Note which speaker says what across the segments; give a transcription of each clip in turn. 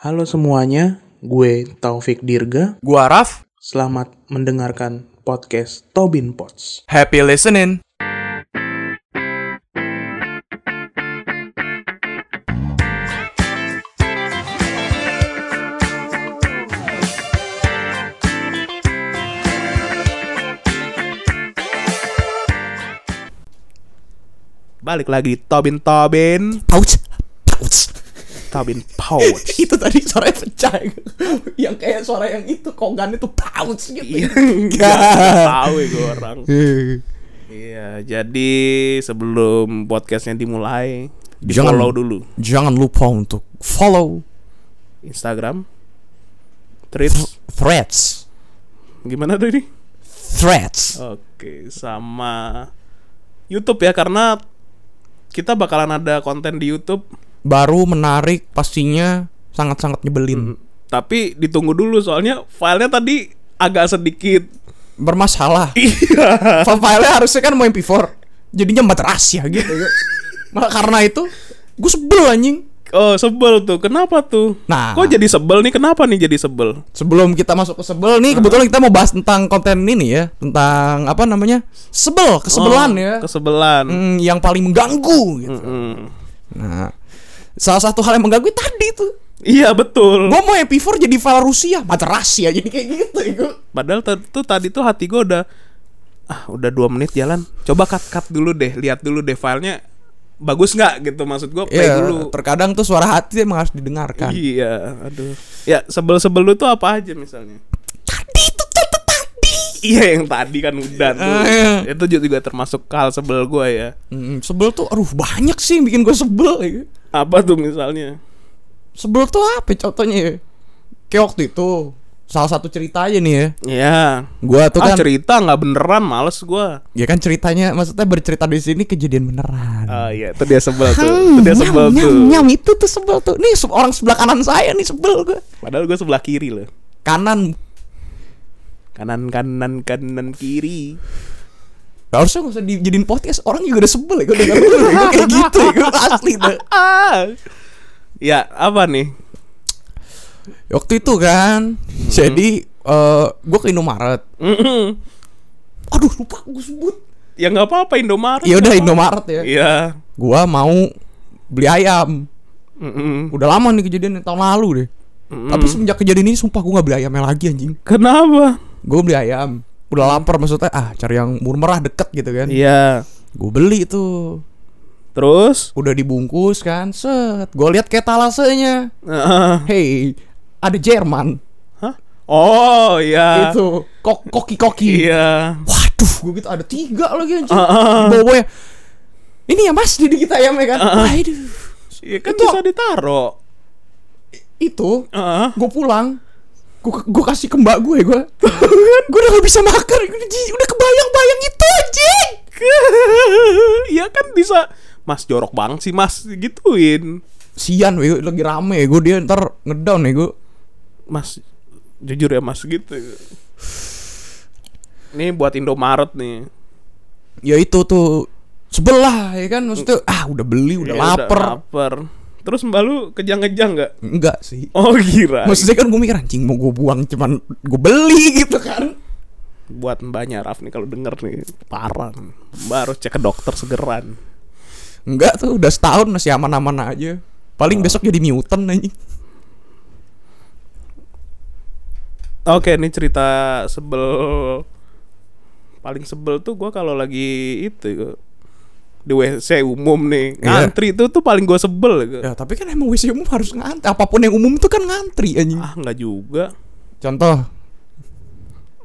Speaker 1: Halo semuanya, gue Taufik Dirga.
Speaker 2: Gua Raf,
Speaker 1: Selamat mendengarkan podcast Tobin Pots.
Speaker 2: happy listening.
Speaker 3: balik lagi di Tobin Tobin
Speaker 2: Pouch, pouch.
Speaker 3: Tobin Pouch
Speaker 2: Itu tadi suaranya pecah. yang kayak suara yang itu kongan itu pouch gitu.
Speaker 3: Iya. Gak tahu ya gue orang iya jadi sebelum podcastnya dimulai di
Speaker 2: Jangan.
Speaker 3: follow dulu
Speaker 2: Jangan lupa untuk follow
Speaker 3: Instagram
Speaker 2: Oh.
Speaker 3: Threads
Speaker 2: threads.
Speaker 3: gimana tadi
Speaker 2: Threads.
Speaker 3: oke sama YouTube ya karena kita bakalan ada konten di YouTube
Speaker 2: Baru menarik pastinya sangat-sangat nyebelin.
Speaker 3: tapi ditunggu dulu soalnya filenya tadi agak sedikit
Speaker 2: Bermasalah.
Speaker 3: iya
Speaker 2: File-filenya harusnya kan mau MP4. Jadinya mbat rahasia gitu.
Speaker 3: Iya.
Speaker 2: Malah karena itu gue sebel anjing.
Speaker 3: Oh sebel tuh, kenapa tuh?
Speaker 2: Nah.
Speaker 3: kok jadi sebel nih? Kenapa nih jadi sebel?
Speaker 2: Sebelum kita masuk ke sebel nih, kebetulan kita mau bahas tentang konten ini ya, tentang apa namanya sebel, kesebelan
Speaker 3: Oh,
Speaker 2: ya,
Speaker 3: Kesebelan.
Speaker 2: Hmm, yang paling mengganggu. Gitu.
Speaker 3: Mm.
Speaker 2: Nah, salah satu hal yang mengganggu tadi tuh,
Speaker 3: Iya betul.
Speaker 2: gue mau MP4 jadi file Rusia, mata rahasia jadi kayak gitu. Gua.
Speaker 3: Padahal t- tuh tadi tuh hati gue udah ah udah dua menit jalan. Coba cut cut dulu deh, lihat dulu deh filenya bagus nggak gitu maksud gue play
Speaker 2: Iya,
Speaker 3: dulu.
Speaker 2: terkadang tuh suara hati emang harus didengarkan.
Speaker 3: Iya, aduh. Ya sebel sebel lu tuh apa aja misalnya?
Speaker 2: Tadi itu contoh tadi.
Speaker 3: Iya yang tadi kan udah tuh.
Speaker 2: Eh.
Speaker 3: Itu juga termasuk hal sebel gue ya.
Speaker 2: Hmm, sebel tuh, aduh banyak sih yang bikin gue sebel. ya.
Speaker 3: Apa tuh misalnya?
Speaker 2: Sebel tuh apa contohnya? ya? Kayak waktu itu salah satu ceritanya nih ya,
Speaker 3: Ya.
Speaker 2: gue tuh
Speaker 3: Ah
Speaker 2: kan
Speaker 3: cerita nggak beneran, males gue.
Speaker 2: Ya kan ceritanya maksudnya bercerita di sini kejadian beneran.
Speaker 3: Oh iya, itu dia sebel tuh.
Speaker 2: Hmm,
Speaker 3: Itu dia sebel
Speaker 2: nyam,
Speaker 3: tuh.
Speaker 2: Nyam, nyam, itu tuh sebel tuh. Nih se- orang sebelah kanan saya nih sebel gue.
Speaker 3: Padahal gue sebelah kiri loh.
Speaker 2: Kanan.
Speaker 3: Kanan kanan kanan kiri.
Speaker 2: Harusnya gak usah dijadiin podcast Orang juga udah sebel ya Gue denger dulu ya. Gua kayak gitu ya Gue asli tuh
Speaker 3: Ah. Ya, apa nih?
Speaker 2: Waktu itu kan
Speaker 3: Hmm.
Speaker 2: Jadi eh Gue ke Indomaret
Speaker 3: Mm-mm.
Speaker 2: Aduh lupa gue sebut
Speaker 3: ya nggak apa-apa Indomaret.
Speaker 2: Ya udah
Speaker 3: nggak apa-apa.
Speaker 2: Indomaret ya
Speaker 3: Iya.
Speaker 2: Gue mau Beli ayam
Speaker 3: Mm-mm.
Speaker 2: Udah lama nih kejadian Tahun lalu deh
Speaker 3: Mm-mm.
Speaker 2: Tapi semenjak kejadian ini Sumpah gue gak beli ayamnya lagi anjing
Speaker 3: Kenapa?
Speaker 2: gue beli ayam udah lapar maksudnya ah cari yang murah deket gitu kan
Speaker 3: Iya.
Speaker 2: gue beli tuh
Speaker 3: Terus?
Speaker 2: udah dibungkus kan set gue lihat etalasenya
Speaker 3: Heeh.
Speaker 2: hey ada Jerman
Speaker 3: Hah? Oh, iya.
Speaker 2: itu kok koki koki
Speaker 3: Iya. Ah.
Speaker 2: waduh gue gitu ada tiga lagi anjing
Speaker 3: Heeh.
Speaker 2: bawa ini ya mas jadi kita ayamnya kan
Speaker 3: Ah.
Speaker 2: Aduh.
Speaker 3: Iya kan
Speaker 2: Itu-
Speaker 3: bisa Ah. ditaro.
Speaker 2: itu
Speaker 3: Heeh.
Speaker 2: gue pulang gue gue kasih ke mbak gue gue gue udah gak bisa makan Gua udah ji- udah kebayang-bayang itu anjing
Speaker 3: Iya kan bisa Mas jorok banget sih Mas gituin.
Speaker 2: sian gue lagi rame gue dia ntar ngedown nih gue
Speaker 3: Mas jujur ya Mas gitu. Ini buat Indomaret nih.
Speaker 2: ya itu tuh sebelah ya kan maksudnya ah udah beli udah
Speaker 3: Ya
Speaker 2: lapar
Speaker 3: lapar. Terus Mbak lu kejang-kejang nggak?
Speaker 2: enggak sih
Speaker 3: Oh kira.
Speaker 2: maksudnya kan gue mikir anjing mau gue buang cuman gue beli gitu kan
Speaker 3: buat Mbaknya Raf nih kalau denger nih parah. nih. Mbak harus cek ke dokter segeran.
Speaker 2: enggak tuh udah setahun masih aman-aman aja paling besok jadi mutant anjing
Speaker 3: Oke, ini cerita sebel paling sebel tuh gua kalau lagi itu di WC umum nih
Speaker 2: Iya.
Speaker 3: ngantri itu tuh paling gua sebel gua.
Speaker 2: ya tapi kan emang WC umum harus ngantri apapun yang umum tuh kan ngantri anjing
Speaker 3: ah nggak juga
Speaker 2: contoh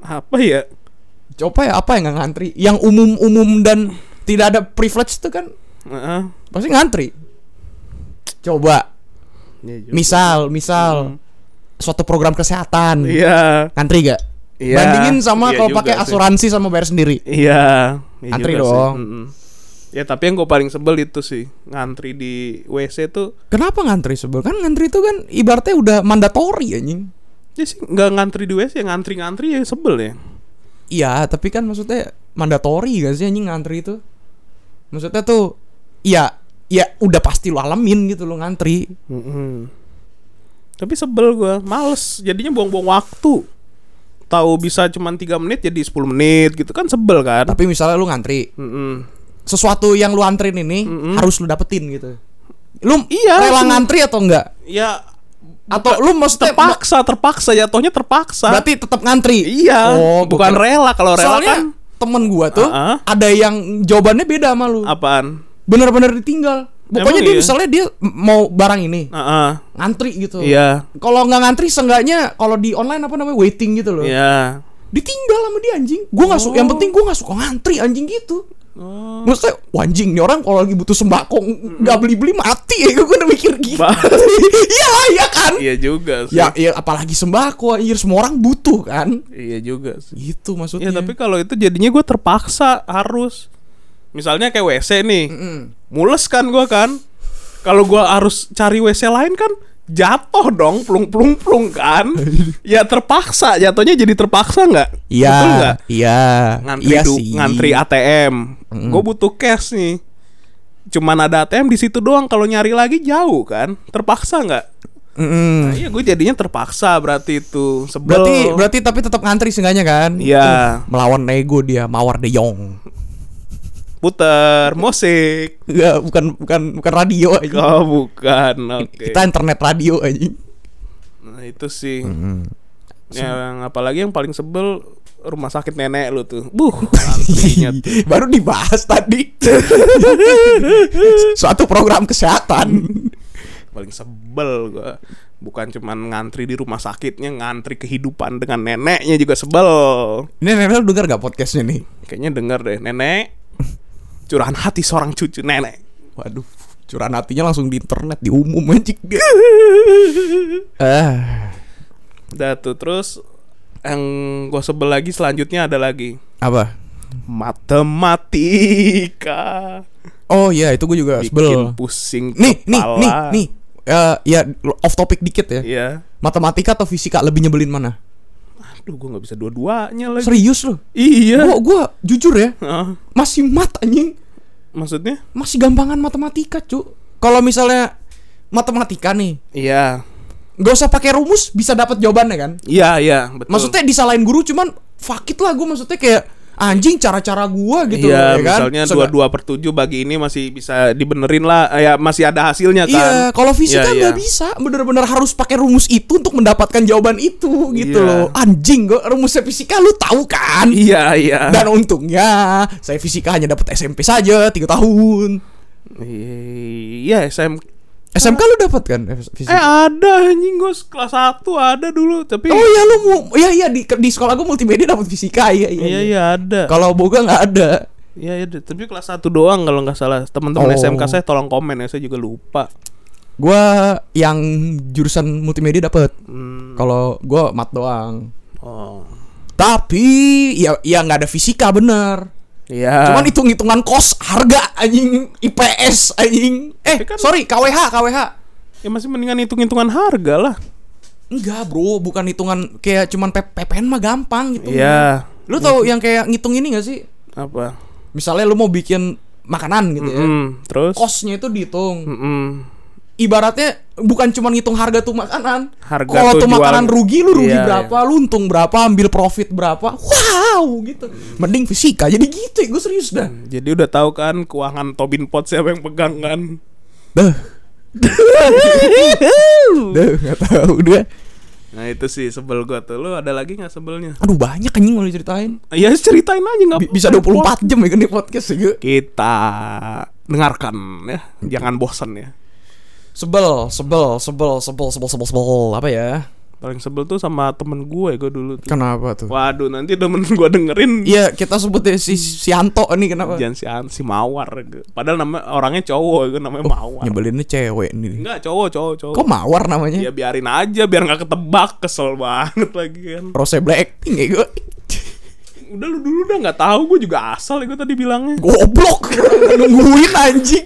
Speaker 3: apa ya
Speaker 2: coba ya apa yang nggak ngantri yang umum-umum dan tidak ada privilege tuh kan
Speaker 3: Heeh.
Speaker 2: pasti ngantri coba
Speaker 3: Ya juga.
Speaker 2: misal misal suatu program kesehatan
Speaker 3: Hmm. Iya.
Speaker 2: ngantri gak?
Speaker 3: Iya.
Speaker 2: Bandingin sama
Speaker 3: Iya
Speaker 2: kalau
Speaker 3: juga
Speaker 2: pakai
Speaker 3: sih.
Speaker 2: asuransi sama bayar sendiri.
Speaker 3: Iya. iya
Speaker 2: Antri
Speaker 3: juga sih.
Speaker 2: dong.
Speaker 3: Mm-mm. Ya tapi yang gue paling sebel itu sih ngantri di WC tuh
Speaker 2: Kenapa ngantri sebel? Kan ngantri itu kan ibaratnya udah mandatory anjing.
Speaker 3: ya sih nggak ngantri di WC ngantri ngantri ya sebel ya.
Speaker 2: Iya, tapi kan maksudnya mandatory gak sih anjing ngantri itu? Maksudnya tuh iya, ya ya udah pasti lo alamin gitu lo ngantri.
Speaker 3: Mm-mm. Tapi sebel gua, males. Jadinya buang-buang waktu. Tahu bisa cuman 3 menit jadi 10 menit gitu kan sebel kan?
Speaker 2: Tapi misalnya lu ngantri,
Speaker 3: Mm-mm.
Speaker 2: sesuatu yang lu antrin ini harus lu dapetin gitu. Lu
Speaker 3: Iya,
Speaker 2: rela
Speaker 3: langsung.
Speaker 2: ngantri atau enggak?
Speaker 3: Ya
Speaker 2: Atau lu maksudnya
Speaker 3: terpaksa, terpaksa jatuhnya terpaksa.
Speaker 2: berarti tetap ngantri?
Speaker 3: iya,
Speaker 2: Oh,
Speaker 3: bukan
Speaker 2: bukan.
Speaker 3: rela kalau rela
Speaker 2: Soalnya
Speaker 3: kan
Speaker 2: temen gua tuh
Speaker 3: Ah,
Speaker 2: ada yang jawabannya beda sama lu.
Speaker 3: apaan?
Speaker 2: Bener-bener ditinggal. Pokoknya
Speaker 3: Emang
Speaker 2: dia
Speaker 3: iya?
Speaker 2: misalnya dia m- mau barang ini
Speaker 3: Heeh.
Speaker 2: ngantri gitu.
Speaker 3: Iya.
Speaker 2: Kalau nggak ngantri seenggaknya kalau di online apa namanya waiting gitu loh.
Speaker 3: Iya.
Speaker 2: Ditinggal sama dia anjing. Gua nggak suka. Yang penting gua nggak suka ngantri anjing gitu.
Speaker 3: Oh.
Speaker 2: Maksudnya, wah anjing nih orang kalau lagi butuh sembako nggak beli-beli mati ya gue udah mikir gitu.
Speaker 3: Ba-
Speaker 2: Iya lah, iya kan?
Speaker 3: Iya juga sih.
Speaker 2: Ya, ya apalagi sembako anjir semua orang butuh kan?
Speaker 3: Iya juga sih.
Speaker 2: Itu maksudnya.
Speaker 3: Ya tapi kalau itu jadinya gue terpaksa harus. Misalnya kayak WC nih, mules kan gue kan. Kalau gue harus cari WC lain kan jatuh dong, plung plung plung kan. ya terpaksa, jatuhnya jadi terpaksa nggak?
Speaker 2: Iya,
Speaker 3: Betul nggak?
Speaker 2: iya.
Speaker 3: Ngantri
Speaker 2: iya
Speaker 3: du-
Speaker 2: sih.
Speaker 3: ngantri ATM. Gue butuh cash nih. Cuman ada ATM di situ doang. Kalau nyari lagi jauh kan, terpaksa nggak?
Speaker 2: Mm-mm.
Speaker 3: Nah, Iya, gue jadinya terpaksa berarti itu sebel.
Speaker 2: Berarti berarti tapi tetap ngantri seenggaknya kan?
Speaker 3: Iya.
Speaker 2: Melawan ego dia, Mawar De Jong.
Speaker 3: puter musik.
Speaker 2: Enggak, bukan bukan bukan radio aja.
Speaker 3: Oh bukan, oke.
Speaker 2: Kita internet radio aja.
Speaker 3: Nah itu sih.
Speaker 2: Mm-hmm.
Speaker 3: Ya, Yang apalagi yang paling sebel rumah sakit nenek lu tuh. Buh, artinya tuh.
Speaker 2: Baru dibahas tadi. Suatu program kesehatan.
Speaker 3: paling sebel gua. Bukan cuman ngantri di rumah sakitnya, ngantri kehidupan dengan neneknya juga sebel.
Speaker 2: Ini Nenel dengar gak podcastnya nih?
Speaker 3: Kayaknya denger deh, nenek. Curahan hati seorang cucu nenek.
Speaker 2: Waduh, curahan hatinya langsung di internet di umum anjing dia. Eh,
Speaker 3: Dah tuh terus yang gua sebel lagi selanjutnya ada lagi
Speaker 2: apa?
Speaker 3: matematika.
Speaker 2: Oh iya, itu gue juga
Speaker 3: bikin
Speaker 2: sebel.
Speaker 3: pusing
Speaker 2: Nih, nih,
Speaker 3: kepala.
Speaker 2: nih, nih. Eh, ya off topic dikit ya.
Speaker 3: Iya.
Speaker 2: Matematika atau fisika lebih nyebelin mana?
Speaker 3: Aduh, gue nggak bisa dua-duanya lagi.
Speaker 2: Serius loh.
Speaker 3: Iya.
Speaker 2: Gua gua jujur ya,
Speaker 3: Ah,
Speaker 2: masih mat anjing.
Speaker 3: maksudnya?
Speaker 2: Masih gampangan matematika, Cuk. Kalau misalnya matematika nih,
Speaker 3: Iya.
Speaker 2: gak usah pakai rumus bisa dapat jawabannya kan?
Speaker 3: Iya, iya, betul.
Speaker 2: Maksudnya disalahin guru cuman fuck it lah gue maksudnya kayak anjing cara-cara gua gitu loh, ya kan?
Speaker 3: iya, misalnya
Speaker 2: Seenggak-
Speaker 3: dua-dua per tujuh bagi ini masih bisa dibenerin lah. Eh, Ya, masih ada hasilnya kan.
Speaker 2: Iya, kalau fisika
Speaker 3: Iya,
Speaker 2: nggak
Speaker 3: iya.
Speaker 2: bisa, bener-bener harus pakai rumus itu untuk mendapatkan jawaban itu gitu
Speaker 3: Iya.
Speaker 2: loh. Anjing, gua rumusnya fisika lu tahu kan?
Speaker 3: Iya, iya.
Speaker 2: Dan untungnya saya fisika hanya dapat SMP saja tiga tahun.
Speaker 3: Iya, SM
Speaker 2: SMK lu dapat kan F-
Speaker 3: Eh
Speaker 2: fisika?
Speaker 3: ada anjing gue kelas 1 ada dulu tapi
Speaker 2: oh iya lu mu, iya iya di, di sekolah gua multimedia dapat fisika iya iya.
Speaker 3: Iya
Speaker 2: iya.
Speaker 3: iya ada.
Speaker 2: Kalau boga nggak ada.
Speaker 3: Iya iya ada. tapi kelas 1 doang kalau nggak salah. Teman-teman
Speaker 2: Oh.
Speaker 3: SMK saya tolong komen ya saya juga lupa.
Speaker 2: Gua yang jurusan multimedia dapat.
Speaker 3: Hmm.
Speaker 2: Kalau gua mat doang.
Speaker 3: Oh.
Speaker 2: Tapi ya ya nggak ada fisika bener.
Speaker 3: Iya.
Speaker 2: Cuman hitung-hitungan kos, harga anjing IPS anjing. Eh,
Speaker 3: Tapi kan-
Speaker 2: sorry, KWH, KWH.
Speaker 3: Ya masih mendingan hitung-hitungan harga lah.
Speaker 2: Enggak, Bro, bukan hitungan kayak cuman P- PPN mah gampang gitu.
Speaker 3: Iya.
Speaker 2: Lu tahu yang kayak ngitung ini gak sih?
Speaker 3: Apa?
Speaker 2: Misalnya lu mau bikin makanan gitu ya.
Speaker 3: Mm, terus?
Speaker 2: Kosnya itu dihitung.
Speaker 3: Mm-mm.
Speaker 2: Ibaratnya bukan cuman ngitung harga tuh makanan.
Speaker 3: Harga
Speaker 2: Kalau
Speaker 3: tuh
Speaker 2: tuh
Speaker 3: jual-
Speaker 2: makanan rugi lu rugi
Speaker 3: Iya,
Speaker 2: berapa, lu untung berapa, ambil profit berapa. Wow, gitu. Mending fisika jadi gitu, ya. gue serius dah.
Speaker 3: Jadi udah tahu kan keuangan Tobin Pot siapa yang pegang kan?
Speaker 2: Duh. Duh, gak tahu dia.
Speaker 3: Nah itu sih sebel gua tuh. Lu ada lagi nggak sebelnya?
Speaker 2: Aduh banyak anjing mau diceritain.
Speaker 3: Ya ceritain aja nggak?
Speaker 2: Bi- bisa 24 jam ya kan di podcast juga.
Speaker 3: Kita dengarkan ya. Jangan bosan ya.
Speaker 2: Sebel, sebel, sebel, sebel, sebel, sebel, sebel. Apa ya?
Speaker 3: Paling sebel tuh sama temen gue gue dulu. Tuh.
Speaker 2: Kenapa tuh?
Speaker 3: Waduh nanti temen gue dengerin.
Speaker 2: Iya, kita sebut ya si si Anto nih kenapa?
Speaker 3: Jangan si, An- si Mawar. gue. Padahal nama orangnya cowok, gue namanya
Speaker 2: Oh,
Speaker 3: Mawar.
Speaker 2: Nyebelinnya cewek nih.
Speaker 3: Enggak cowok cowok cowok.
Speaker 2: Kok mawar namanya?
Speaker 3: Ya biarin aja biar nggak ketebak kesel banget lagi kan.
Speaker 2: Rose Blackpink ya gue.
Speaker 3: Udah lu dulu udah nggak tahu gue juga asal ya gue tadi bilangnya.
Speaker 2: Goblok. Nungguin anjing.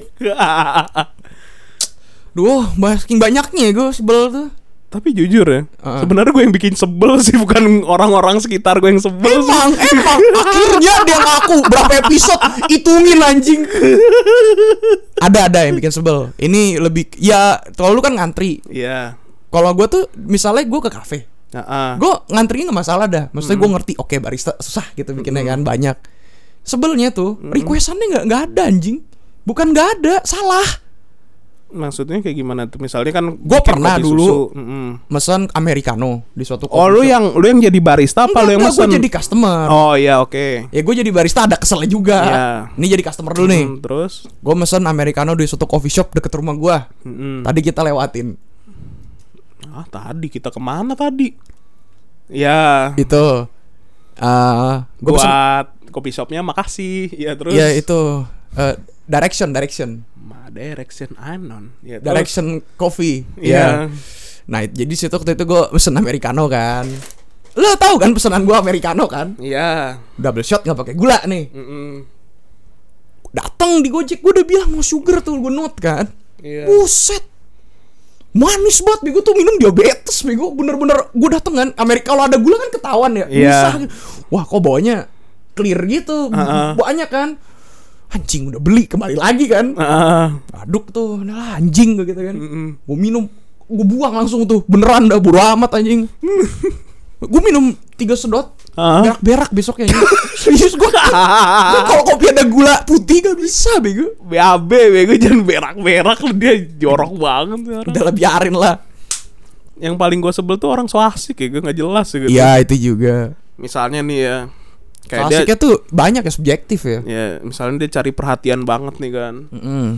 Speaker 2: Duh, banyak banyaknya gue sebel tuh.
Speaker 3: Tapi jujur ya,
Speaker 2: Heeh.
Speaker 3: sebenarnya gue yang bikin sebel sih bukan orang-orang sekitar gue yang sebel sih.
Speaker 2: Emang, emang akhirnya dia ngaku berapa episode hitungin anjing. Ada ada yang bikin sebel. Ini lebih ya kalau lu kan ngantri.
Speaker 3: Iya.
Speaker 2: Kalau gue tuh misalnya gue ke kafe,
Speaker 3: Nah, ah.
Speaker 2: gue ngantrinya nggak masalah dah. Maksudnya
Speaker 3: Hmm.
Speaker 2: gue ngerti, oke barista susah gitu bikinnya kan banyak. Sebelnya tuh
Speaker 3: Hmm.
Speaker 2: requestannya nggak nggak ada anjing. Bukan nggak ada, salah.
Speaker 3: maksudnya kayak gimana tuh? Misalnya kan
Speaker 2: Gua
Speaker 3: bikin
Speaker 2: pernah
Speaker 3: kopi
Speaker 2: dulu.
Speaker 3: susu, mm-mm.
Speaker 2: Mesen americano di suatu
Speaker 3: Oh lu
Speaker 2: coffee shop.
Speaker 3: yang lu yang jadi barista apa lu yang
Speaker 2: Enggak, enggak,
Speaker 3: mesen?
Speaker 2: gua jadi customer.
Speaker 3: Oh iya oke.
Speaker 2: Ya gue jadi barista ada keselnya juga.
Speaker 3: Iya.
Speaker 2: Ini jadi customer dulu nih.
Speaker 3: Hmm, terus
Speaker 2: Gue mesen americano di suatu coffee shop deket rumah gue.
Speaker 3: Mm-mm.
Speaker 2: Tadi kita lewatin
Speaker 3: ah tadi kita kemana tadi? Ya
Speaker 2: itu. eh gue pesen.
Speaker 3: buat kopi shopnya makasih. Ya terus.
Speaker 2: Ya itu eh, direction direction
Speaker 3: Ma direction Anon. Ya, terus.
Speaker 2: direction coffee. Ya.
Speaker 3: Iya.
Speaker 2: Nah jadi situ waktu itu gue pesen americano kan. Lo tau kan pesanan gue americano kan?
Speaker 3: Iya.
Speaker 2: Double shot nggak pakai gula nih.
Speaker 3: Mm-mm.
Speaker 2: Datang di Gojek gue udah bilang mau sugar tuh gue note kan.
Speaker 3: Iya.
Speaker 2: Buset. Manis banget bego tuh minum diabetes bego bener-bener gue dateng kan Amerika kalau ada gula kan ketahuan ya
Speaker 3: Iya.
Speaker 2: Misah. wah kok bawanya clear gitu
Speaker 3: Heeh.
Speaker 2: banyak kan anjing udah beli kembali lagi kan
Speaker 3: Ah,
Speaker 2: aduk tuh udah lah, anjing gua gitu kan
Speaker 3: Mm-mm.
Speaker 2: gue minum gue buang langsung tuh beneran dah bodo amat anjing gue minum tiga sedot
Speaker 3: Heeh.
Speaker 2: berak-berak besoknya anjing. serius gue kalau kopi ada gula putih gak bisa bego
Speaker 3: BAB bego jangan berak-berak lu, dia jorok banget tuh orang.
Speaker 2: udah lah biarin lah
Speaker 3: Yang paling gue sebel tuh orang so asik ya gue nggak jelas ya gitu.
Speaker 2: Iya itu juga.
Speaker 3: Misalnya nih ya kayak dia
Speaker 2: Klasiknya tuh banyak ya subjektif ya.
Speaker 3: ya misalnya dia cari perhatian banget nih kan
Speaker 2: Mm.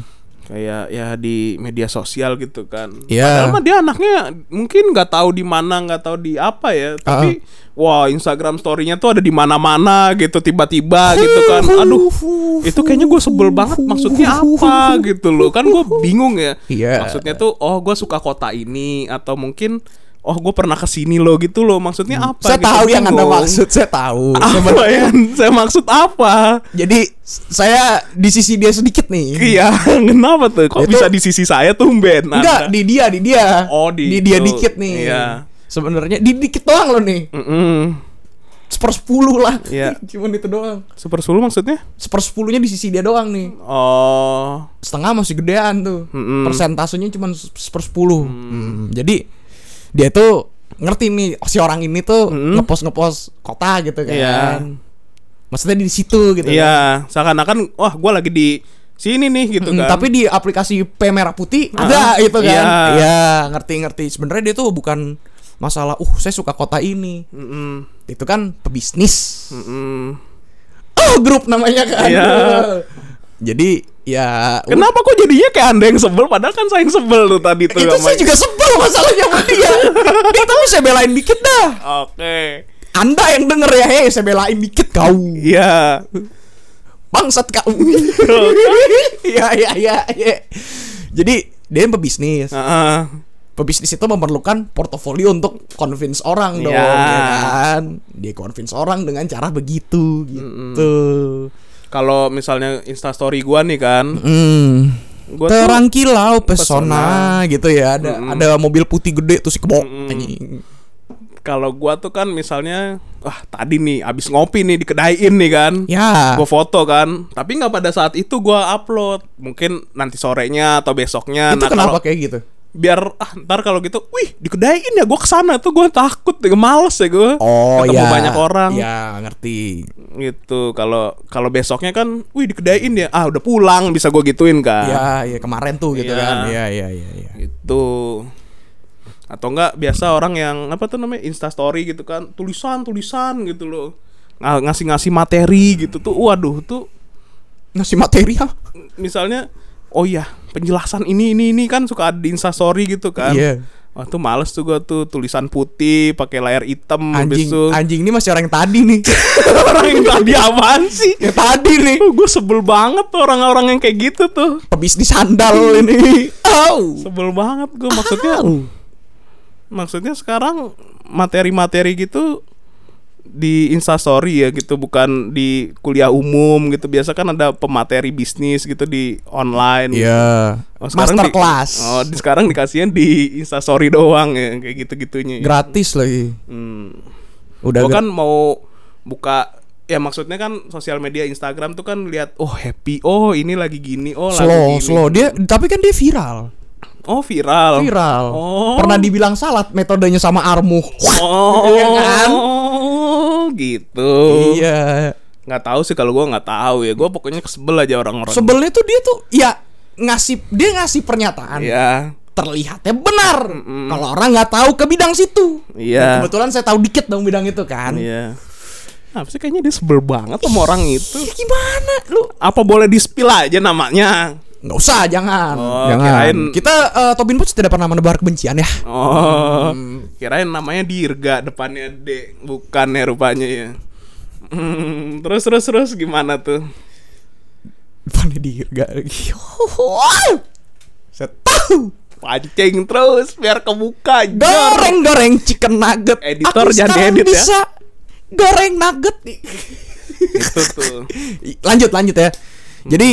Speaker 3: kayak ya di media sosial gitu kan
Speaker 2: Iya.
Speaker 3: padahal mah dia anaknya mungkin nggak tahu di mana nggak tahu di apa ya
Speaker 2: Ah.
Speaker 3: tapi wah Instagram story-nya tuh ada di mana-mana gitu tiba-tiba gitu kan aduh
Speaker 2: Uhuh.
Speaker 3: itu kayaknya gue sebel banget maksudnya apa gitu loh kan gue bingung ya
Speaker 2: Ya Uhuh. Iya.
Speaker 3: maksudnya tuh oh gue suka kota ini atau mungkin oh gue pernah kesini loh gitu loh maksudnya apa
Speaker 2: Hmm. Saya
Speaker 3: gitu,
Speaker 2: tahu yang anda
Speaker 3: bingung.
Speaker 2: maksud, saya tahu.
Speaker 3: apa yang saya maksud apa
Speaker 2: Jadi s- saya di sisi dia sedikit nih.
Speaker 3: Iya, kenapa tuh? Kok
Speaker 2: Itu-
Speaker 3: bisa di sisi saya tuh Ben?
Speaker 2: Enggak, di dia, di dia.
Speaker 3: Oh, di
Speaker 2: dia
Speaker 3: itu.
Speaker 2: dikit nih.
Speaker 3: Iya.
Speaker 2: Sebenarnya di dikit doang loh nih. Seper sepuluh lah.
Speaker 3: Iya.
Speaker 2: Cuman itu doang.
Speaker 3: Super Sulu maksudnya?
Speaker 2: Seper sepuluhnya di sisi dia doang nih.
Speaker 3: Oh,
Speaker 2: Setengah masih gedean tuh.
Speaker 3: Mm-mm.
Speaker 2: Persentasenya cuman se- seper sepuluh. Mm. Jadi dia tuh ngerti nih si orang ini tuh
Speaker 3: Mm.
Speaker 2: ngepost ngepost kota gitu kan.
Speaker 3: Iya.
Speaker 2: Maksudnya di situ gitu. kan.
Speaker 3: iya. Seakan-akan, wah, gua lagi di sini nih gitu
Speaker 2: Mm,
Speaker 3: kan.
Speaker 2: Tapi di aplikasi P merah putih ada itu kan.
Speaker 3: Iya.
Speaker 2: Iya, ngerti-ngerti. Sebenarnya dia tuh bukan masalah uh saya suka kota ini.
Speaker 3: Mm-mm,
Speaker 2: Itu kan pebisnis.
Speaker 3: mm-mm.
Speaker 2: Oh, grup namanya kan.
Speaker 3: Mm. Iya.
Speaker 2: Jadi ya uh,
Speaker 3: Kenapa kok jadinya kayak anda yang sebel? Padahal kan saya yang sebel tuh tadi tuh.
Speaker 2: itu
Speaker 3: sama-
Speaker 2: saya juga sebel masalahnya sama dia. dia tahu saya belain dikit dah.
Speaker 3: Oke.
Speaker 2: Anda yang denger ya, hei saya belain dikit kau.
Speaker 3: Iya.
Speaker 2: Bangsat kau. Iya, iya, iya, iya. Jadi dia yang pebisnis.
Speaker 3: Heeh.
Speaker 2: pebisnis itu memerlukan portofolio untuk convince orang dong,
Speaker 3: Iya.
Speaker 2: ya kan? Dia convince orang dengan cara begitu gitu.
Speaker 3: Kalau misalnya instastory gua nih kan,
Speaker 2: Hmm.
Speaker 3: gua
Speaker 2: Terang
Speaker 3: tuh
Speaker 2: kilau pesona, gitu ya. Ada ada mobil putih gede tuh si kebok anjing.
Speaker 3: kalau gua tuh kan misalnya, wah tadi nih abis ngopi nih di kedai ini kan.
Speaker 2: Ya.
Speaker 3: gue foto kan tapi nggak pada saat itu gua upload mungkin nanti sorenya atau besoknya
Speaker 2: itu
Speaker 3: Nah,
Speaker 2: kenapa
Speaker 3: kalau-
Speaker 2: kayak gitu?
Speaker 3: biar ah, ntar kalau gitu wih dikedain ya gue kesana tuh gue takut gue males ya gue
Speaker 2: Oh, iya.
Speaker 3: ketemu banyak orang
Speaker 2: Ya, ngerti.
Speaker 3: gitu kalau kalau besoknya kan wih dikedain ya ah udah pulang bisa gue gituin kan
Speaker 2: Ya, ya kemarin tuh gitu
Speaker 3: Iya.
Speaker 2: kan. Ya, ya, ya, ya.
Speaker 3: gitu atau enggak biasa orang yang apa tuh namanya instastory gitu kan tulisan tulisan gitu loh Nga- ngasih-ngasih materi gitu tuh waduh tuh
Speaker 2: Ngasih Nah, materi ah. apa?
Speaker 3: misalnya oh iya penjelasan ini ini ini kan suka ada di instastory gitu kan
Speaker 2: Iya.
Speaker 3: Wah tuh males tuh gua tuh tulisan putih pakai layar hitam
Speaker 2: Anjing,
Speaker 3: habis itu
Speaker 2: anjing ini masih orang yang tadi nih.
Speaker 3: orang yang tadi apaan sih
Speaker 2: yang tadi nih.
Speaker 3: tuh gue sebel banget tuh orang-orang yang kayak gitu tuh
Speaker 2: Pebisnis sandal
Speaker 3: Hmm.
Speaker 2: ini. Au.
Speaker 3: sebel banget gue maksudnya maksudnya sekarang materi-materi gitu di instastory ya gitu bukan di kuliah umum gitu biasa kan ada pemateri bisnis gitu di online
Speaker 2: Iya.
Speaker 3: Oh, sekarang di-
Speaker 2: Masterclass.
Speaker 3: oh, di- sekarang dikasihin di Instastory doang ya, kayak gitu-gitunya. ya.
Speaker 2: Gratis lagi.
Speaker 3: Hmm.
Speaker 2: Udah
Speaker 3: Gua
Speaker 2: gra-
Speaker 3: kan mau buka ya maksudnya kan sosial media Instagram tuh kan lihat oh happy, oh ini lagi gini, oh lagi
Speaker 2: slow,
Speaker 3: gini.
Speaker 2: slow. Dia tapi kan dia viral.
Speaker 3: Oh viral.
Speaker 2: viral.
Speaker 3: Oh.
Speaker 2: Pernah dibilang salah metodenya sama Armu.
Speaker 3: Oh,
Speaker 2: Iya kan?
Speaker 3: gitu.
Speaker 2: Iya.
Speaker 3: Nggak tahu sih kalau gua nggak tahu ya. Gua pokoknya kesebel aja orang-orang.
Speaker 2: Sebelnya tuh dia tuh ya ngasih dia ngasih pernyataan
Speaker 3: Iya.
Speaker 2: terlihatnya benar. Kalau orang nggak tahu ke bidang situ.
Speaker 3: Iya.
Speaker 2: Kebetulan saya tahu dikit dong bidang itu kan.
Speaker 3: Iya. Apa sih kayaknya dia sebel banget sama orang itu.
Speaker 2: Ya gimana lu?
Speaker 3: Apa boleh di-spill aja namanya?
Speaker 2: Nggak usah, jangan.
Speaker 3: Oh,
Speaker 2: jangan.
Speaker 3: kirain-
Speaker 2: Kita eh, Tobin Pots tidak pernah menebar kebencian ya.
Speaker 3: Oh,
Speaker 2: Hmm.
Speaker 3: kirain namanya Dirga depannya D, bukan ya rupanya ya. Hmm, terus terus terus gimana tuh?
Speaker 2: Depannya dirga lagi. Saya tahu.
Speaker 3: Pancing terus biar kebuka. Jor.
Speaker 2: Goreng goreng chicken nugget.
Speaker 3: Editor
Speaker 2: Aku
Speaker 3: jangan
Speaker 2: sekarang
Speaker 3: diedit ya.
Speaker 2: bisa Goreng nugget.
Speaker 3: Gitu tuh.
Speaker 2: lanjut lanjut ya. Jadi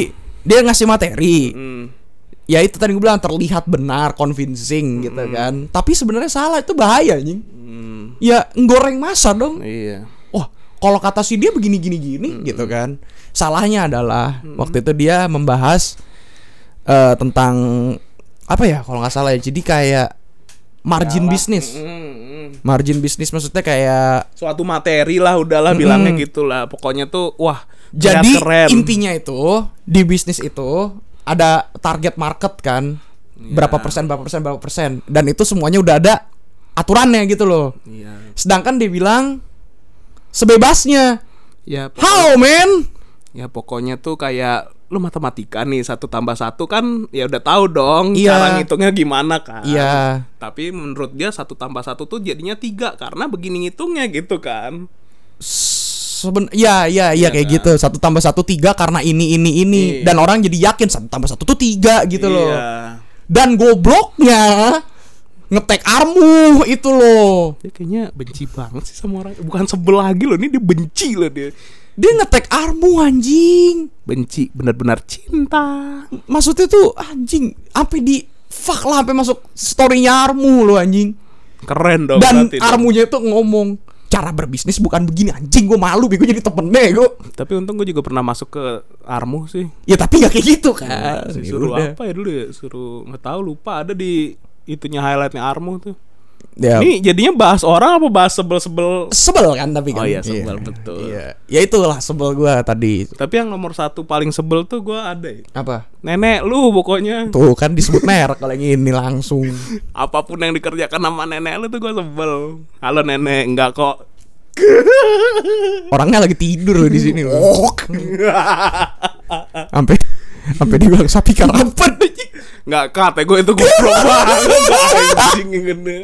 Speaker 2: dia ngasih materi.
Speaker 3: Hmm.
Speaker 2: Ya itu tadi gue bilang terlihat benar,
Speaker 3: Hmm.
Speaker 2: convincing gitu kan. Tapi sebenarnya salah itu bahaya anjing. Ya goreng masa dong.
Speaker 3: Iya.
Speaker 2: Wah, kalau kata si dia begini gini gini
Speaker 3: Hmm.
Speaker 2: gitu kan. Salahnya adalah waktu itu dia membahas eh, tentang apa ya kalau nggak salah ya. Jadi kayak margin bisnis.
Speaker 3: Hmm, hmm.
Speaker 2: Margin bisnis maksudnya kayak
Speaker 3: Suatu materi lah udahlah bilangnya gitulah. Pokoknya tuh wah terlihat
Speaker 2: Hmm. Jadi
Speaker 3: keren.
Speaker 2: intinya itu di bisnis itu ada target market kan.
Speaker 3: Iya.
Speaker 2: Berapa persen, berapa persen, berapa persen. Dan itu semuanya udah ada aturannya gitu loh.
Speaker 3: Iya.
Speaker 2: Sedangkan dia bilang sebebasnya.
Speaker 3: Ya, pokok-
Speaker 2: How man?
Speaker 3: ya pokoknya tuh kayak lu matematika nih satu tambah satu kan ya udah tahu dong
Speaker 2: Iya.
Speaker 3: cara ngitungnya gimana kan.
Speaker 2: Iya.
Speaker 3: Tapi menurut dia satu tambah satu tuh jadinya tiga karena begini ngitungnya gitu kan.
Speaker 2: Seben ya ya ya
Speaker 3: Iya, nah.
Speaker 2: kayak gitu. Satu tambah satu tiga karena ini ini ini dan orang jadi yakin satu tambah satu tuh tiga gitu loh.
Speaker 3: Iya.
Speaker 2: Dan gobloknya ngetek armu itu loh.
Speaker 3: Dia kayaknya benci banget sih sama orang. Bukan sebel lagi loh, ini dia benci loh dia.
Speaker 2: Dia ngetek armu anjing.
Speaker 3: Benci benar-benar cinta.
Speaker 2: maksudnya tuh anjing sampai di fuck lah sampai masuk storynya Armu lo anjing
Speaker 3: Keren dong
Speaker 2: dan
Speaker 3: Oh, berarti dong.
Speaker 2: Armunya itu ngomong cara berbisnis bukan begini anjing gue malu bego jadi temen bego
Speaker 3: Tapi untung gue juga pernah masuk ke Armu sih.
Speaker 2: ya tapi nggak kayak gitu kan
Speaker 3: Sih,
Speaker 2: Ya
Speaker 3: suruh
Speaker 2: udah.
Speaker 3: apa ya dulu ya? Suruh nggak tahu lupa ada di itunya highlightnya Armu tuh.
Speaker 2: ya,
Speaker 3: Ini jadinya bahas orang apa bahas sebel-sebel?
Speaker 2: sebel kan tapi kan
Speaker 3: Oh iya, sebel, betul.
Speaker 2: iya. ya itulah sebel gue tadi
Speaker 3: Tapi yang nomor satu paling sebel tuh gue ada ya.
Speaker 2: apa
Speaker 3: Nenek lu pokoknya
Speaker 2: tuh kan disebut merek kalau yang ini langsung
Speaker 3: apapun yang dikerjakan sama nenek lu tuh gue sebel. Halo nenek, enggak kok.
Speaker 2: orangnya lagi tidur loh di sini loh
Speaker 3: Oh.
Speaker 2: sampai sampai dibilang sapi karampet anjing.
Speaker 3: Enggak kate gue itu goblok banget. Anjing gede.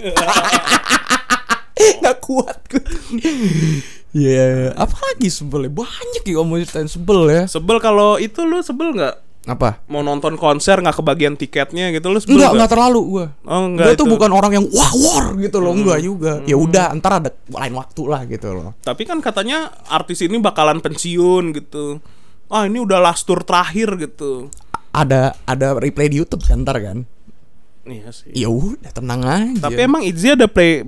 Speaker 2: nggak kuat gue. Iya, apa lagi sebelnya banyak ya ngomongin tentang sebel ya.
Speaker 3: Sebel kalau itu lu sebel enggak?
Speaker 2: Apa?
Speaker 3: Mau nonton konser nggak kebagian tiketnya gitu lu
Speaker 2: Enggak,
Speaker 3: sebel nggak?
Speaker 2: enggak terlalu gua.
Speaker 3: Oh, enggak
Speaker 2: Gua tuh
Speaker 3: itu. Hmm.
Speaker 2: bukan orang yang wah war gitu loh, enggak juga. Ya udah, ntar ada lain waktu lah gitu loh.
Speaker 3: Tapi kan katanya artis ini bakalan pensiun gitu. Ah ini udah last tour terakhir gitu.
Speaker 2: A- Ada ada replay di YouTube kan ntar kan.
Speaker 3: Iya sih.
Speaker 2: Ya udah tenang aja.
Speaker 3: Tapi emang Itzy ada play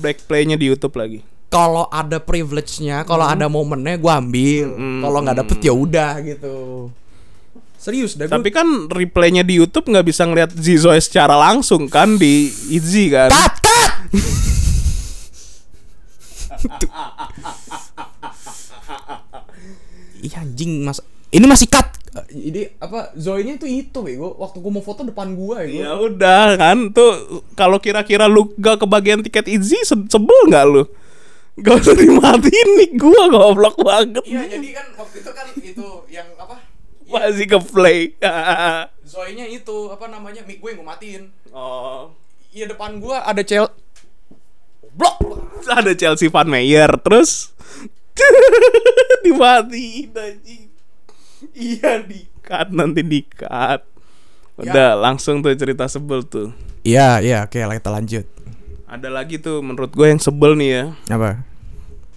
Speaker 3: back play-nya di YouTube lagi.
Speaker 2: kalau ada privilege-nya, kalau
Speaker 3: Hmm.
Speaker 2: ada momennya gua ambil. Kalau nggak dapet ya udah gitu. Serius dah gua.
Speaker 3: Tapi kan replaynya di YouTube nggak bisa ngeliat Zizoy secara langsung kan di Itzy kan.
Speaker 2: Cut, cut! Iya anjing mas Ini masih cut Jadi Eh, apa Zoe-nya tuh itu bego Waktu gue mau foto depan gua ya
Speaker 3: Ya udah kan tuh kalau kira-kira lu gak kebagian tiket Itzy se- sebel nggak lu? Gak usah dimatiin nih gua goblok banget.
Speaker 2: Iya jadi kan waktu itu kan itu yang apa
Speaker 3: Masih ke play.
Speaker 2: Zoe-nya itu apa namanya mic gue yang gue matiin
Speaker 3: oh.
Speaker 2: Iya depan gua ada cel Blok
Speaker 3: Ada Chelsea Van Meyer terus dimatiin anjing. Iya di-cut nanti di-cut. Udah langsung tuh cerita sebel tuh.
Speaker 2: Iya iya oke lah kita lanjut
Speaker 3: Ada lagi tuh menurut gue yang sebel nih ya.
Speaker 2: Apa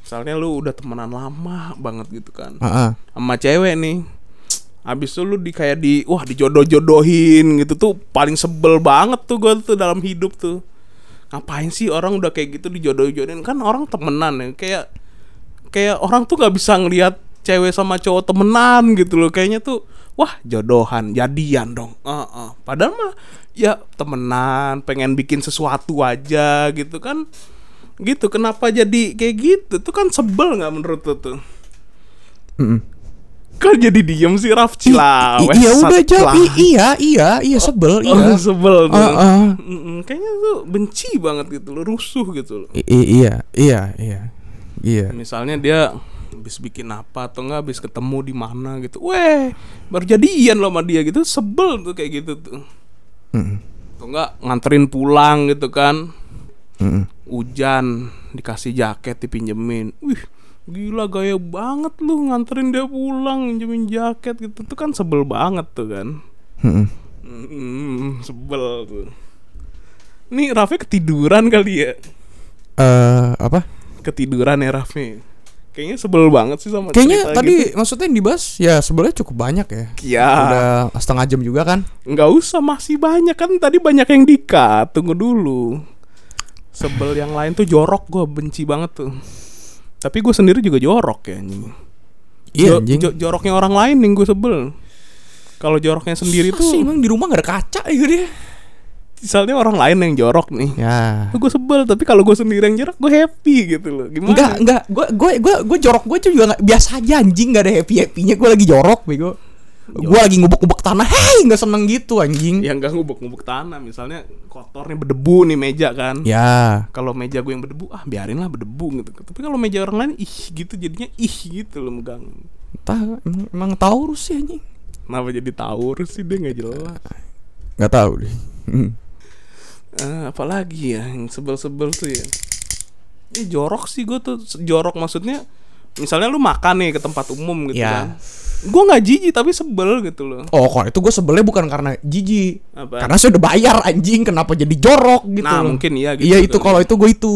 Speaker 3: Misalnya lu udah temenan lama banget gitu kan.
Speaker 2: Heeh.
Speaker 3: Sama cewek nih. Abis itu lu di kayak di wah dijodoh-jodohin gitu tuh paling sebel banget tuh gue tuh dalam hidup tuh. Ngapain sih orang udah kayak gitu dijodoh-jodohin kan orang temenan ya kayak kayak orang tuh nggak bisa ngelihat cewek sama cowok temenan gitu loh kayaknya tuh wah jodohan jadian dong Heeh. padahal mah ya temenan pengen bikin sesuatu aja gitu kan gitu kenapa jadi kayak gitu tuh kan sebel nggak menurut lu tuh
Speaker 2: Mm-mm.
Speaker 3: kan jadi diem sih
Speaker 2: I-
Speaker 3: Raf Cilawe
Speaker 2: i- iya udah
Speaker 3: Sat-
Speaker 2: jawab I- iya iya iya sebel
Speaker 3: Oh,
Speaker 2: iya
Speaker 3: sebel tuh.
Speaker 2: Heeh.
Speaker 3: Mm-mm, Kayaknya tuh benci banget gitu loh, rusuh gitu loh.
Speaker 2: I- i- iya iya iya iya
Speaker 3: Misalnya dia habis bikin apa atau enggak habis ketemu di mana gitu. Weh, baru jadian loh sama dia gitu, sebel tuh kayak gitu tuh.
Speaker 2: Mm-mm.
Speaker 3: Atau enggak nganterin pulang gitu kan.
Speaker 2: Mm-mm.
Speaker 3: Hujan dikasih jaket dipinjemin. Wih, gila gaya banget lu nganterin dia pulang minjemin jaket gitu. Tuh kan sebel banget tuh kan.
Speaker 2: Mm-mm.
Speaker 3: Mm, sebel tuh. Nih Raffi ketiduran kali ya.
Speaker 2: Eh, apa
Speaker 3: Ketiduran ya Raffi. Kayaknya sebel banget sih sama
Speaker 2: kayaknya
Speaker 3: cerita
Speaker 2: tadi
Speaker 3: gitu.
Speaker 2: maksudnya yang dibahas ya sebelnya cukup banyak ya
Speaker 3: Ya,
Speaker 2: udah setengah jam juga kan
Speaker 3: nggak usah masih banyak kan tadi banyak yang dikat. Tunggu dulu. Sebel yang lain tuh jorok gue benci banget tuh. Tapi gue sendiri juga jorok ya anjing.
Speaker 2: iya
Speaker 3: Jo-
Speaker 2: anjing
Speaker 3: jo- joroknya orang lain yang gue sebel. Kalau joroknya sendiri
Speaker 2: Susah sih,
Speaker 3: tuh
Speaker 2: emang di rumah gak ada kaca ya dia
Speaker 3: misalnya orang lain yang jorok nih.
Speaker 2: ya
Speaker 3: Gue sebel, tapi kalau gue sendiri yang jorok gue happy gitu loh. Gimana?
Speaker 2: Enggak, enggak. Gue gue gue gue jorok gue juga nggak biasa aja anjing nggak ada happy happynya. Gue lagi jorok bego. Gue lagi ngubek-ngubek tanah. Hei, nggak seneng gitu anjing. Ya.
Speaker 3: yang gak ngubuk-ngubuk tanah misalnya kotornya berdebu nih meja kan
Speaker 2: Iya. Ya.
Speaker 3: kalau meja gue yang berdebu ah biarin lah berdebu gitu tapi kalau meja orang lain ih gitu jadinya ih gitu loh megang
Speaker 2: Entah, emang, emang Taurus sih anjing.
Speaker 3: kenapa jadi tawur sih dia nggak jelas
Speaker 2: Nggak tahu deh. Hmm.
Speaker 3: Eh, apalagi ya yang sebel-sebel tuh ya ini jorok sih gue tuh Se- jorok maksudnya misalnya lu makan nih ke tempat umum gitu kan
Speaker 2: Ya.
Speaker 3: gue nggak jijik tapi sebel gitu loh
Speaker 2: Oh, kalau itu gue sebelnya bukan karena jijik.
Speaker 3: Apa?
Speaker 2: Karena saya udah bayar anjing, kenapa jadi jorok gitu
Speaker 3: nah
Speaker 2: loh.
Speaker 3: mungkin iya gitu
Speaker 2: Iya itu
Speaker 3: tuh.
Speaker 2: kalau itu gue itu.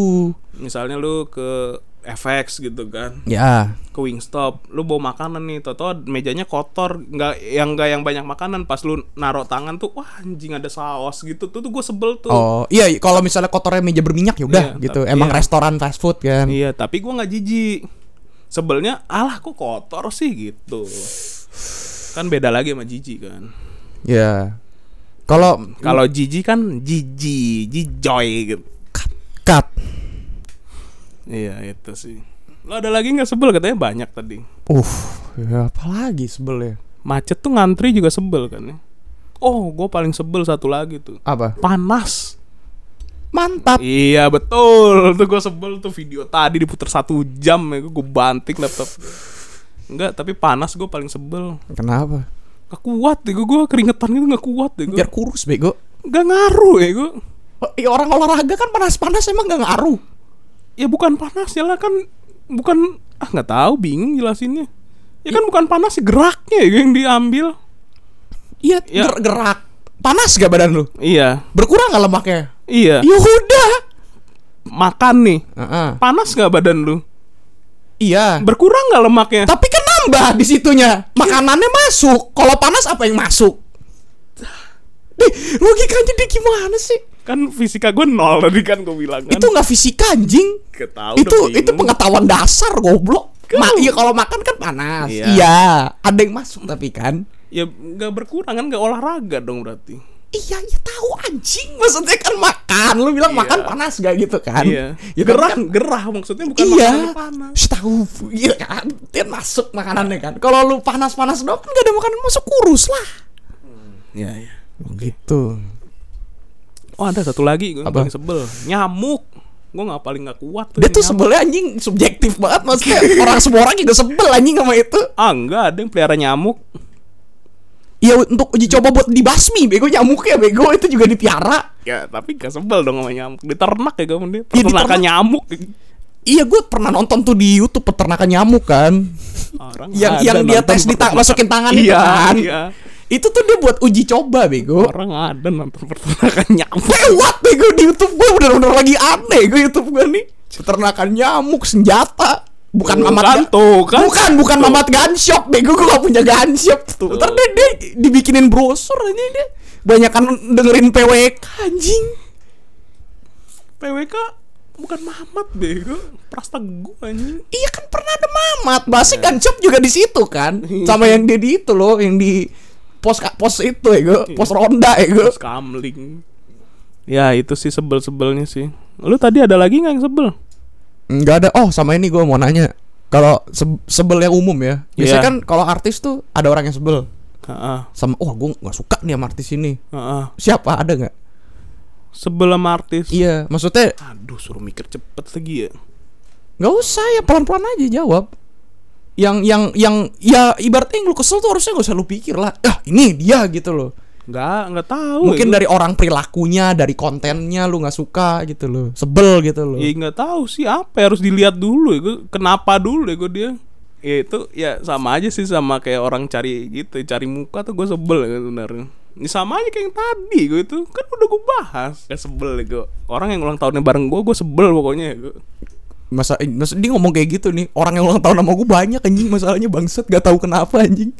Speaker 3: misalnya lu ke FX gitu kan
Speaker 2: Ya.
Speaker 3: ke Wingstop, lu bawa makanan nih, toto mejanya kotor, nggak yang nggak yang banyak makanan, pas lu naruh tangan tuh, wah anjing ada saus gitu, tuh tuh gue sebel tuh.
Speaker 2: Oh, iya kalau misalnya kotornya meja berminyak ya udah
Speaker 3: Iya,
Speaker 2: gitu.
Speaker 3: tapi-
Speaker 2: Emang
Speaker 3: iya.
Speaker 2: restoran fast food kan.
Speaker 3: Iya, tapi gua nggak jijik. Sebelnya, alah kok kotor sih gitu. Kan beda lagi sama jijik kan.
Speaker 2: Ya. Kalau
Speaker 3: Kalau jijik kan jijik, jijoy gitu.
Speaker 2: cut
Speaker 3: Iya itu sih. Lo ada lagi nggak sebel katanya banyak tadi.
Speaker 2: Uh, ya apalagi sebel ya?
Speaker 3: Macet tuh ngantri juga sebel kan ya. Oh, gue paling sebel satu lagi tuh.
Speaker 2: Apa?
Speaker 3: Panas.
Speaker 2: Mantap.
Speaker 3: Iya betul Tuh gue sebel tuh video tadi diputer satu jam ya Gue banting laptop Enggak tapi panas gue paling sebel
Speaker 2: Kenapa?
Speaker 3: Gak kuat deh gue keringetan gitu gak kuat deh gue
Speaker 2: Biar kurus bego.
Speaker 3: Gak ngaruh ya gue
Speaker 2: Ya, orang olahraga kan panas-panas emang gak ngaruh.
Speaker 3: Ya bukan panas ya lah kan Bukan Ah gak tahu bingung jelasinnya Ya kan bukan panas sih, geraknya ya yang diambil
Speaker 2: Iya,
Speaker 3: Ya.
Speaker 2: ger- gerak. Panas gak badan lu?
Speaker 3: Iya
Speaker 2: Berkurang gak lemaknya?
Speaker 3: Iya
Speaker 2: Ya udah.
Speaker 3: Makan nih
Speaker 2: Heeh.
Speaker 3: Panas gak badan lu?
Speaker 2: Iya.
Speaker 3: Berkurang gak lemaknya?
Speaker 2: Tapi kan nambah di situnya. Makanannya masuk. Kalau panas apa yang masuk? Dih, logikanya dia gimana sih?
Speaker 3: Kan fisika gue nol tadi kan gue bilang kan
Speaker 2: Itu nggak fisika anjing.
Speaker 3: Ketahu
Speaker 2: itu
Speaker 3: udah
Speaker 2: itu
Speaker 3: bingung.
Speaker 2: pengetahuan dasar goblok. Ma, iya kalau makan kan panas.
Speaker 3: Iya.
Speaker 2: Iya. ada yang masuk tapi kan.
Speaker 3: ya nggak berkurang kan nggak olahraga dong berarti
Speaker 2: Iya, iya tahu anjing. Maksudnya kan makan. Lu bilang
Speaker 3: Iya.
Speaker 2: makan panas gak gitu kan?
Speaker 3: iya
Speaker 2: Ya, tapi
Speaker 3: gerah
Speaker 2: kan-
Speaker 3: gerah maksudnya bukan
Speaker 2: iya.
Speaker 3: makanannya panas
Speaker 2: Shh, Tahu gitu kan. Dia masuk makanannya kan. Kalau lu panas-panas doang kan gak ada makanan masuk kurus lah.
Speaker 3: iya iya
Speaker 2: Gitu.
Speaker 3: oh ada satu lagi gue
Speaker 2: Apa?
Speaker 3: paling sebel nyamuk gue nggak paling nggak kuat tuh
Speaker 2: Dia tuh
Speaker 3: nyamuk.
Speaker 2: sebelnya anjing subjektif banget maksudnya. orang semua orang juga sebel anjing sama itu.
Speaker 3: ah nggak ada yang pelihara nyamuk
Speaker 2: Ya untuk uji coba buat dibasmi bego nyamuknya bego itu juga dipiara.
Speaker 3: ya tapi gak sebel dong sama nyamuk diternak ya kamu dia
Speaker 2: diternak.
Speaker 3: peternakan nyamuk
Speaker 2: Iya gue pernah nonton tuh di YouTube peternakan nyamuk kan
Speaker 3: orang
Speaker 2: Yang
Speaker 3: ada
Speaker 2: yang dia
Speaker 3: nonton
Speaker 2: tes di ta-
Speaker 3: peternakan.
Speaker 2: masukin tangan itu
Speaker 3: iya,
Speaker 2: kan
Speaker 3: iya.
Speaker 2: Itu tuh dia buat uji coba bego
Speaker 3: orang ada nonton peternakan nyamuk
Speaker 2: Lewat bego di Youtube gue bener-bener lagi aneh gue Youtube gue nih Peternakan nyamuk senjata Bukan
Speaker 3: Tuh
Speaker 2: mamat
Speaker 3: kan,
Speaker 2: ga-
Speaker 3: tuh kan.
Speaker 2: Bukan bukan mamat gunshop bego gue gak punya gunshop tuh Ntar dia, dia dibikinin brosur aja dia Banyakan dengerin PWK anjing
Speaker 3: PWK bukan mamat bego prastagu anjing
Speaker 2: Iya Iya. kan pernah ada mamat, bahasa gunshop juga di situ kan, sama yang dia di itu loh, yang di pos ka- pos itu ya gue pos ronda ya gue
Speaker 3: Terus kamling. Ya itu sih sebel-sebelnya sih. Lu tadi ada lagi nggak yang sebel?
Speaker 2: nggak ada oh sama ini gue mau nanya kalau se- sebel yang umum ya biasanya
Speaker 3: Iya.
Speaker 2: kan kalau artis tuh ada orang yang sebel
Speaker 3: Heeh,
Speaker 2: sama wah gue nggak suka nih sama artis ini
Speaker 3: heeh.
Speaker 2: siapa ada nggak
Speaker 3: Sebel sama artis.
Speaker 2: iya maksudnya
Speaker 3: Aduh, suruh mikir cepet lagi ya.
Speaker 2: nggak usah ya pelan pelan aja jawab yang yang yang ya ibaratnya yang lu kesel tuh harusnya gak usah lu pikir lah ah ini dia gitu loh
Speaker 3: Nggak, nggak tahu.
Speaker 2: mungkin
Speaker 3: ya.
Speaker 2: dari orang perilakunya dari kontennya lu nggak suka gitu loh sebel gitu loh
Speaker 3: Ya nggak tahu sih apa ya, harus dilihat dulu ya. Gua- kenapa dulu ya gue dia. Ya itu ya sama aja sih sama kayak orang cari gitu, cari muka tuh gue sebel ya sebenarnya. Ini sama aja kayak yang tadi gue itu kan udah gue bahas. Gak sebel ya gue. Orang yang ulang tahunnya bareng gue, gue sebel pokoknya ya gue.
Speaker 2: masa eh, masa dia ngomong kayak gitu nih orang yang ulang tahun sama gue banyak anjing masalahnya bangset gak tahu kenapa anjing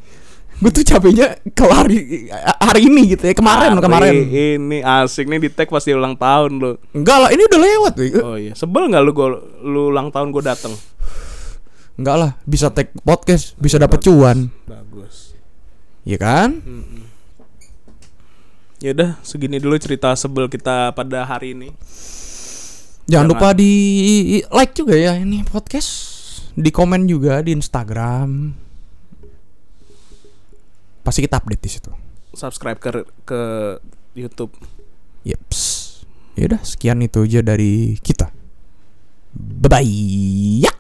Speaker 2: gue tuh capeknya kelar di- hari ini gitu ya kemarin
Speaker 3: Hari
Speaker 2: kemarin
Speaker 3: Ini asik nih di tag pasti ulang tahun lo.
Speaker 2: enggak lah ini udah lewat weh.
Speaker 3: Oh iya, sebel nggak lu gua, lu ulang tahun gue dateng?
Speaker 2: enggak lah bisa tag podcast bisa dapet cuan
Speaker 3: Bagus.
Speaker 2: ya kan
Speaker 3: Ya udah, segini dulu cerita sebel kita pada hari ini.
Speaker 2: jangan
Speaker 3: Jangan.
Speaker 2: lupa di like juga ya ini podcast di komen juga di Instagram pasti kita update di situ
Speaker 3: Subscribe ke ke YouTube.
Speaker 2: Yeps. Yaudah, sekian itu aja dari kita. Bye-bye. Ya.